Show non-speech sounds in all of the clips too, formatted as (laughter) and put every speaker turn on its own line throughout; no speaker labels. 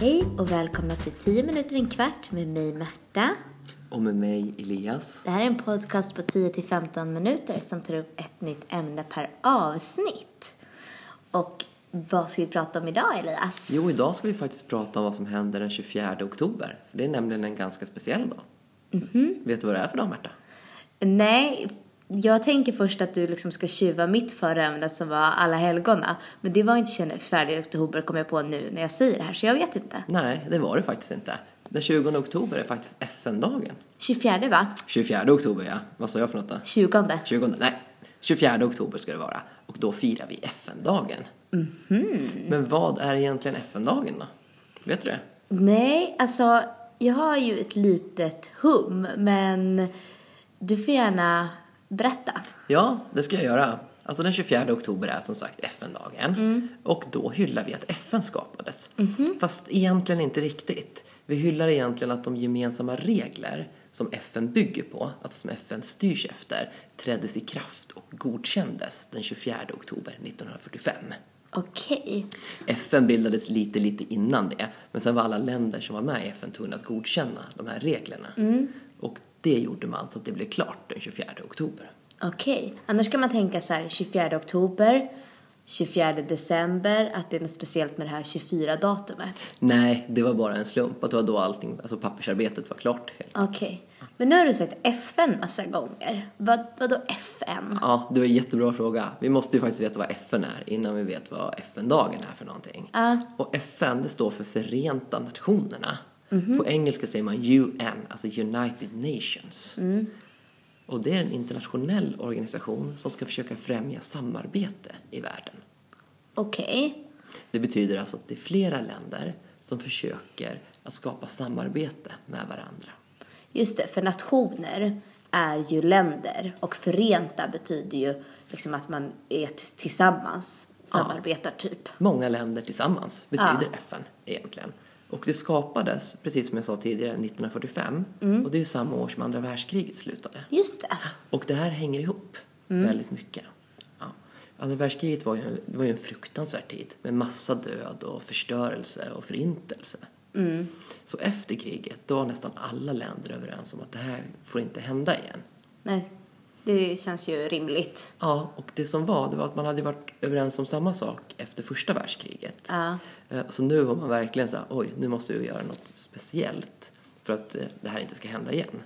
Hej och välkomna till 10 minuter en kvart med mig Märta.
Och med mig Elias.
Det här är en podcast på 10-15 minuter som tar upp ett nytt ämne per avsnitt. Och vad ska vi prata om idag Elias?
Jo, idag ska vi faktiskt prata om vad som händer den 24 oktober. För det är nämligen en ganska speciell dag. Vet du vad det är för dag, Märta?
Nej, jag tänker först att du liksom ska tjuva mitt förra ämne som var alla helgona. Men det var inte 24 oktober kom jag på nu när jag säger det här så jag vet inte.
Nej, det var det faktiskt inte. Den 20 oktober är faktiskt FN-dagen.
24 va?
24 oktober, ja. Vad sa jag för något då?
20.
20, nej. 24 oktober ska det vara. Och då firar vi FN-dagen. Men vad är egentligen FN-dagen då? Vet du det?
Nej, alltså jag har ju ett litet hum, men du får gärna berätta.
Ja, det ska jag göra. Alltså den 24 oktober är som sagt FN-dagen. Och då hyllar vi att FN skapades. Fast egentligen inte riktigt. Vi hyllar egentligen att de gemensamma regler som FN bygger på, alltså som FN styrs efter, träddes i kraft och godkändes den 24 oktober 1945.
Okej.
FN bildades lite, lite innan det. Men sen var alla länder som var med i FN tvungna att godkänna de här reglerna. Och det gjorde man så att det blev klart den 24 oktober.
Okej. Annars kan man tänka så här 24 oktober, 24 december, att det är något speciellt med det här 24-datumet.
Nej, det var bara en slump att det var då allting, alltså pappersarbetet var klart. helt.
Okej. Men nu har du sagt FN massa gånger. Vad, vadå FN?
Ja, det var en jättebra fråga. Vi måste ju faktiskt veta vad FN är innan vi vet vad FN-dagen är för någonting.
Ja.
Och FN, det står för Förenta Nationerna. På engelska säger man UN, alltså United Nations. Och det är en internationell organisation som ska försöka främja samarbete i världen.
Okej.
Det betyder alltså att det är flera länder som försöker att skapa samarbete med varandra.
Just det, för nationer är ju länder och förenta betyder ju liksom att man är t- tillsammans, samarbetar typ.
Många länder tillsammans betyder
Ja.
FN egentligen. Och det skapades, precis som jag sa tidigare, 1945. Och det är ju samma år som andra världskriget slutade.
Just det.
Och det här hänger ihop väldigt mycket. Ja. Andra världskriget var ju, det var ju en fruktansvärd tid med massa död och förstörelse och förintelse. Så efter kriget, då var nästan alla länder överens om att det här får inte hända igen.
Nej, det känns ju rimligt.
Ja, och det som var, det var att man hade varit överens om samma sak efter första världskriget.
Ja.
Eh, Så nu var man verkligen så här, oj, nu måste vi göra något speciellt för att eh, det här inte ska hända igen.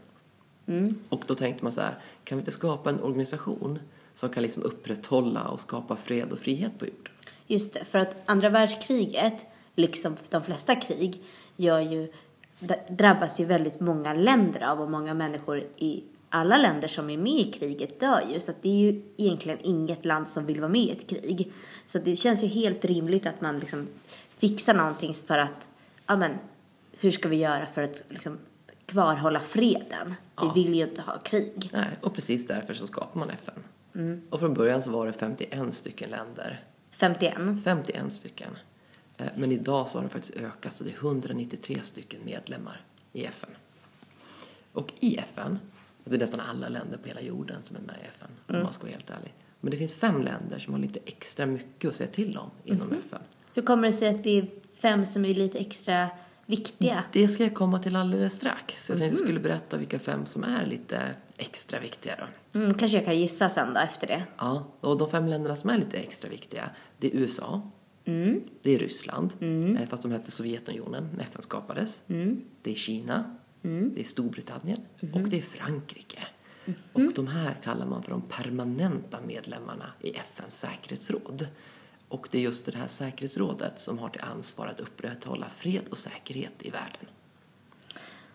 Och då tänkte man så här, kan vi inte skapa en organisation som kan liksom upprätthålla och skapa fred och frihet på jorden?
Just det, för att andra världskriget, liksom de flesta krig, gör ju, d- drabbas ju väldigt många länder av och många människor i alla länder som är med i kriget dör ju. Så att det är ju egentligen inget land som vill vara med i ett krig. Så att det känns ju helt rimligt att man liksom fixar någonting för att, ja men, hur ska vi göra för att liksom kvarhålla freden?
Ja.
Vi vill ju inte ha krig.
Nej, och precis därför så skapar man FN. Och från början så var det 51 stycken länder
51.
51 stycken. Eh, Men idag så har det faktiskt ökat så det är 193 stycken medlemmar i FN. Och i FN, det är nästan alla länder på hela jorden som är med i FN om man ska vara helt ärlig. Men det finns fem länder som har lite extra mycket att säga till om inom FN.
Hur kommer det sig att det är fem som är lite extra viktiga?
Det ska jag komma till alldeles strax. Jag tänkte jag skulle berätta vilka fem som är lite extra viktiga då.
Mm, kanske jag kan gissa sen då efter det.
Ja, och de fem länderna som är lite extra viktiga, det är USA, det är Ryssland, eh, fast de hette Sovjetunionen när FN skapades. Det är Kina, det är Storbritannien och det är Frankrike. Och de här kallar man för de permanenta medlemmarna i FNs säkerhetsråd. Och det är just det här säkerhetsrådet som har till ansvar att upprätthålla fred och säkerhet i världen.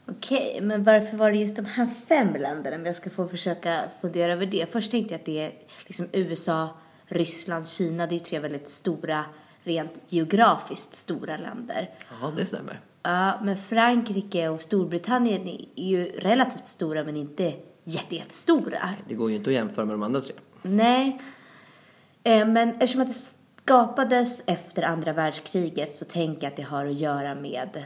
Okej, men varför var det just de här fem länderna? Om jag ska få försöka fundera över det. Först tänkte jag att det är liksom USA, Ryssland, Kina. Det är ju tre väldigt stora, rent geografiskt stora länder.
Ja, det stämmer.
Ja, men Frankrike och Storbritannien är ju relativt stora men inte jätte, jättestora.
Det går ju inte att jämföra med de andra tre.
Nej. Eh, Men eftersom att det skapades efter andra världskriget så tänker jag att det har att göra med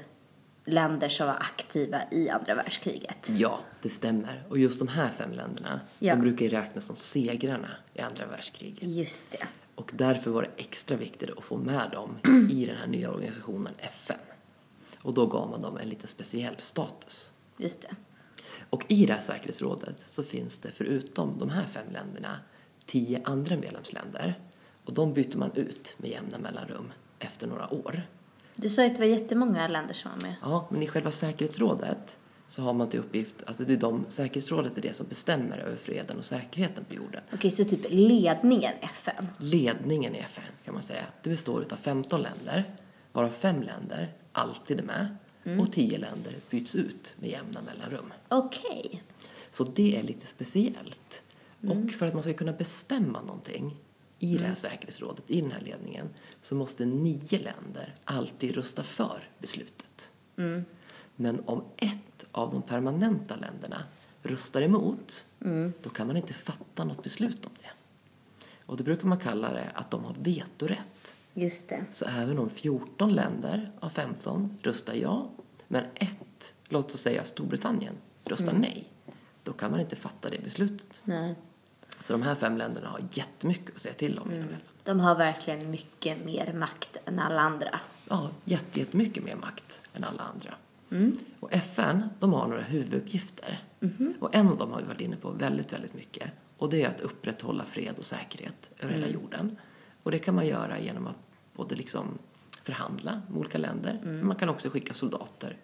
länder som var aktiva i andra världskriget.
Ja, det stämmer. Och just de här fem länderna,
Ja.
de brukar ju räknas som segrarna i andra världskriget.
Just det.
Och därför var det extra viktigt att få med dem i den här nya organisationen FN. Och då gav man dem en lite speciell status.
Just det.
Och i det här säkerhetsrådet så finns det förutom de här fem länderna tio andra medlemsländer. Och de byter man ut med jämna mellanrum efter några år.
Du sa ju att det var jättemånga länder som var med.
Ja, men i själva säkerhetsrådet så har man till uppgift, alltså det är de, säkerhetsrådet är det som bestämmer över freden och säkerheten på jorden.
Okej, så typ ledningen FN.
Ledningen i FN kan man säga, det består av 15 länder, varav fem länder alltid är med och 10 länder byts ut med jämna mellanrum.
Okej.
Så det är lite speciellt. Och för att man ska kunna bestämma någonting i det här säkerhetsrådet, i den här ledningen, så måste nio länder alltid rösta för beslutet. Men om ett av de permanenta länderna röstar emot, då kan man inte fatta något beslut om det. Och det brukar man kalla det att de har vetorätt.
Just det.
Så även om 14 länder av 15 röstar ja, men ett, låt oss säga Storbritannien, röstar nej, då kan man inte fatta det beslutet.
Nej.
Så de här fem länderna har jättemycket att säga till om inom FN.
De har verkligen mycket mer makt än alla andra.
Ja, jätte- jättemycket mer makt än alla andra. Och FN, de har några huvuduppgifter. Och en av dem har vi varit inne på väldigt, väldigt mycket. Och det är att upprätthålla fred och säkerhet över hela jorden. Och det kan man göra genom att både liksom förhandla med olika länder, men man kan också skicka soldater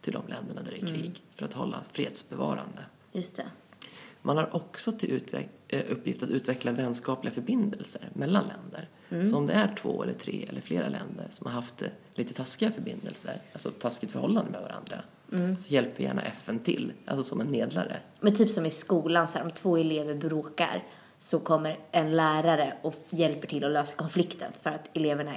till de länderna där det är krig för att hålla fredsbevarande.
Just det.
Man har också till utveck- eh, uppgift att utveckla vänskapliga förbindelser mellan länder. Så om det är två eller tre eller flera länder som har haft eh, lite taskiga förbindelser, alltså taskigt förhållande med varandra, så hjälper gärna FN till, alltså som en medlare.
Men typ som i skolan, så här, om två elever bråkar så kommer en lärare och hjälper till att lösa konflikten för att eleverna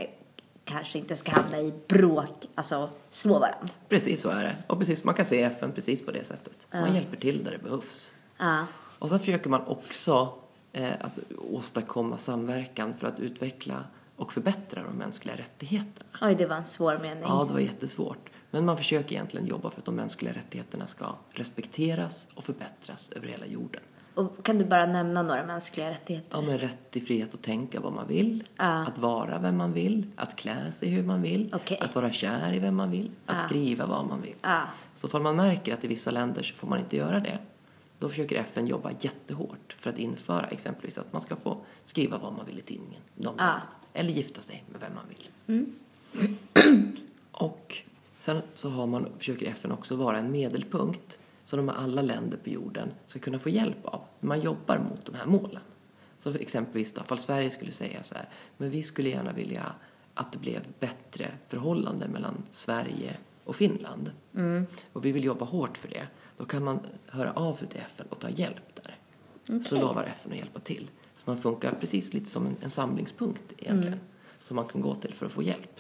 kanske inte ska hamna i bråk, alltså slå varandra.
Precis så är det. Och precis, man kan se FN precis på det sättet. Man hjälper till där det behövs.
Ja.
Och sen försöker man också eh, att åstadkomma samverkan för att utveckla och förbättra de mänskliga rättigheterna.
Oj, det var en svår mening.
Ja, det var jättesvårt. Men man försöker egentligen jobba för att de mänskliga rättigheterna ska respekteras och förbättras över hela jorden.
Och kan du bara nämna några mänskliga rättigheter?
Ja, men rätt till frihet att tänka vad man vill,
Ja.
att vara vem man vill, att klä sig hur man vill,
Okej.
att vara kär i vem man vill, att skriva vad man vill.
Ja.
Så ifall man märker att i vissa länder så får man inte göra det, då försöker FN jobba jättehårt för att införa exempelvis att man ska få skriva vad man vill i tidningen, de länderna. eller gifta sig med vem man vill. Och sen så har man, försöker FN också vara en medelpunkt som de här alla länder på jorden ska kunna få hjälp av när man jobbar mot de här målen. Så för exempelvis då, ifall Sverige skulle säga så här, men vi skulle gärna vilja att det blev bättre förhållande mellan Sverige och Finland. Och vi vill jobba hårt för det. Då kan man höra av sig till FN och ta hjälp där. Så lovar FN att hjälpa till. Så man funkar precis lite som en, en samlingspunkt egentligen. Som man kan gå till för att få hjälp.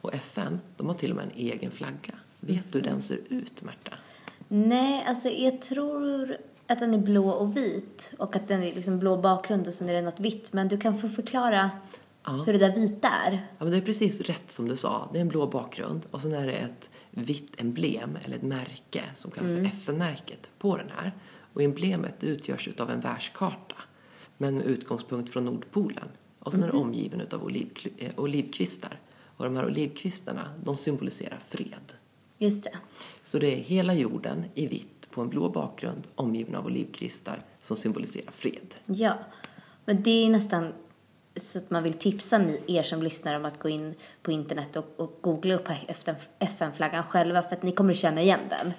Och FN, de har till och med en egen flagga. Vet du hur den ser ut, Märta?
Nej, alltså jag tror att den är blå och vit och att den är liksom blå bakgrund och sen är det något vitt. Men du kan få förklara
Ja.
hur det där vita är.
Ja, men det är precis rätt som du sa. Det är en blå bakgrund och sen är det ett vitt emblem, eller ett märke, som kallas för FN-märket på den här. Och emblemet utgörs av en världskarta, men med utgångspunkt från Nordpolen. Och sen är det omgiven av olivkl- eh, olivkvistar. Och de här olivkvistarna, de symboliserar fred.
Just det.
Så det är hela jorden i vitt på en blå bakgrund omgiven av olivkvistar som symboliserar fred.
Ja, men det är nästan så att man vill tipsa ni, er som lyssnar om att gå in på internet och, och googla upp FN FN-flaggan själva för att ni kommer känna igen den.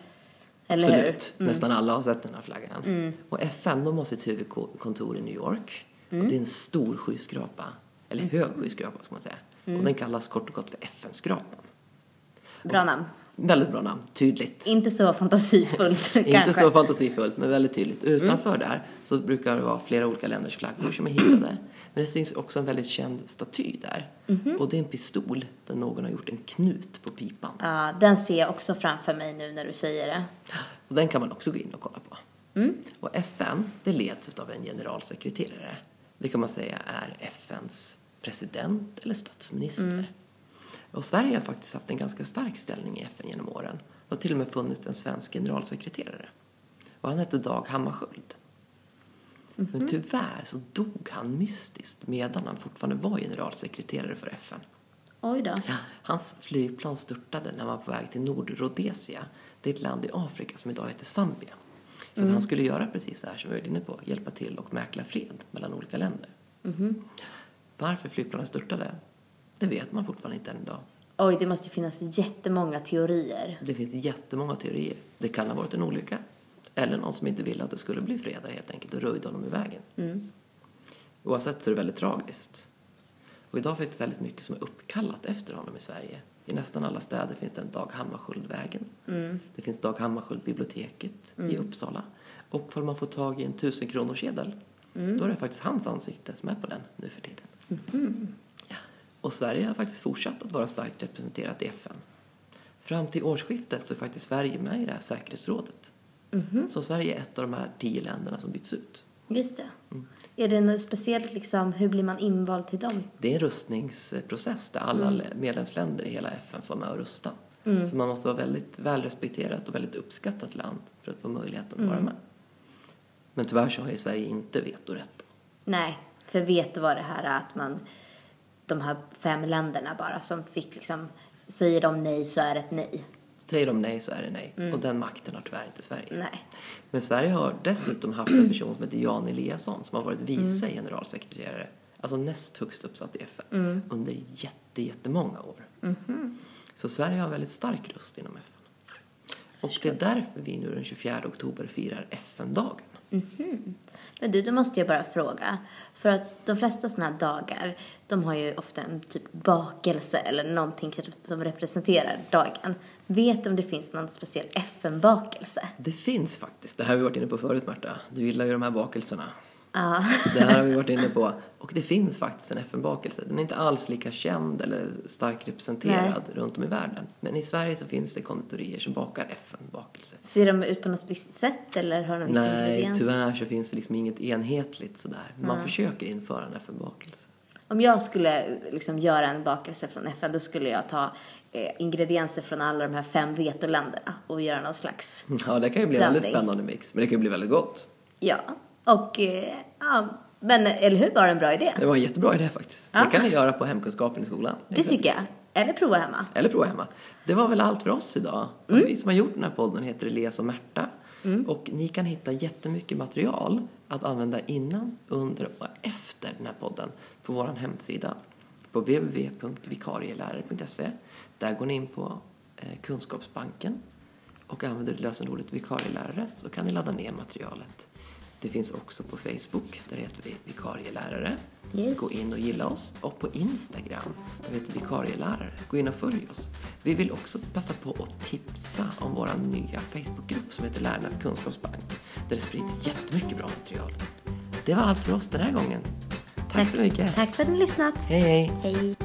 Eller
Absolut. Nästan alla har sett den här flaggan. Och FN, de har sitt huvudkontor i New York. Och det är en stor skyskrapa. Eller hög skyskrapa, ska man säga. Och den kallas kort och gott för FN-skrapan.
hur? Bra namn.
Väldigt bra namn. Tydligt.
Inte så
(laughs)
fantasifullt kanske.
Inte så fantasifullt, men väldigt tydligt. Utanför där så brukar det vara flera olika länders flaggor som är hissade. Men det syns också en väldigt känd staty där. Och det är en pistol där någon har gjort en knut på pipan.
Ja, den ser jag också framför mig nu när du säger det.
Och den kan man också gå in och kolla på. Och FN, det leds av en generalsekreterare. Det kan man säga är FNs president eller statsminister. Och Sverige har faktiskt haft en ganska stark ställning i FN genom åren. Det har till och med funnits en svensk generalsekreterare. Och han hette Dag Hammarskjöld. Men tyvärr så dog han mystiskt medan han fortfarande var generalsekreterare för FN.
Oj då.
Ja, hans flygplan störtade när han var på väg till Nordrhodesia. Det är ett land i Afrika som idag heter Zambia. För att han skulle göra precis det här som vi var inne på, hjälpa till och mäkla fred mellan olika länder. Varför flygplanet störtade, det vet man fortfarande inte än idag.
Oj, det måste ju finnas jättemånga teorier.
Det finns jättemånga teorier. Det kan ha varit en olycka. Eller någon som inte ville att det skulle bli fred där helt enkelt och röjde honom ur vägen. Oavsett så är det väldigt tragiskt. Och idag finns det väldigt mycket som är uppkallat efter honom i Sverige. I nästan alla städer finns det en Dag Hammarskjöldvägen. Det finns Dag Hammarskjöldbiblioteket i Uppsala. Och får man få tag i en tusenkronorskedel, då är det faktiskt hans ansikte som är på den nu för tiden. Ja. Och Sverige har faktiskt fortsatt att vara starkt representerat i FN. Fram till årsskiftet så är faktiskt Sverige med i det här säkerhetsrådet. Så Sverige är ett av de här tio länderna som byts ut.
Just det.
Mm.
Är det något speciellt, liksom, hur blir man invald till dem?
Det är en rustningsprocess där alla lä- medlemsländer i hela FN får vara med och rusta. Så man måste vara väldigt välrespekterat och väldigt uppskattat land för att få möjligheten att vara med. Men tyvärr så har ju Sverige inte vetorätt.
Nej, för vet du vad det här är att man, de här fem länderna bara som fick liksom, säger de nej så är det ett nej.
Säger de nej så är det nej. Och den makten har tyvärr inte Sverige.
Nej.
Men Sverige har dessutom haft en person som heter Jan Eliasson som har varit vice generalsekreterare, alltså näst högst uppsatt i FN, under jätte, jättemånga år. Så Sverige har en väldigt stark röst inom FN. Och det är därför vi nu den 24 oktober firar FN-dagen.
Men du, då måste jag bara fråga. För att de flesta sådana här dagar, de har ju ofta en typ bakelse eller någonting som representerar dagen. Vet du om det finns någon speciell FN-bakelse?
Det finns faktiskt, det här har vi varit inne på förut Marta, du gillar ju de här bakelserna.
Ja.
Det här har vi varit inne på. Och det finns faktiskt en FN-bakelse. Den är inte alls lika känd eller starkt representerad runt om i världen. Men i Sverige så finns det konditorier som bakar FN-bakelse.
(laughs) Ser de ut på något visst sätt eller har de viss
Nej,
ingrediens?
tyvärr så finns det liksom inget enhetligt sådär. Man försöker införa en FN-bakelse. (laughs)
Om jag skulle liksom göra en bakelse från FN då skulle jag ta eh, ingredienser från alla de här fem vetoländerna och göra någon slags,
Ja, det kan ju bli en väldigt
Blandning.
spännande mix. Men det kan ju bli väldigt gott.
ja. Och, eh, ja, men eller hur, var det en bra idé?
Det var en jättebra idé faktiskt.
Ja.
Det kan ni göra på hemkunskapen i skolan.
Det tycker jag. Eller prova hemma.
Eller prova hemma. Det var väl allt för oss idag. Och vi som har gjort den här podden heter Elias och Märta. Och ni kan hitta jättemycket material att använda innan, under och efter den här podden på vår hemsida på www.vikarielärare.se. Där går ni in på eh, Kunskapsbanken och använder lösenordet vikarielärare så kan ni ladda ner materialet. Det finns också på Facebook, där heter vi vikarielärare.
Yes.
Gå in och gilla oss. Och på Instagram, där heter vikarielärare. Gå in och följ oss. Vi vill också passa på att tipsa om vår nya Facebookgrupp som heter Lärarnas kunskapsbank, där det sprids jättemycket bra material. Det var allt för oss den här gången. Tack så mycket.
Tack för att ni har lyssnat.
Hej, hej.
Hej.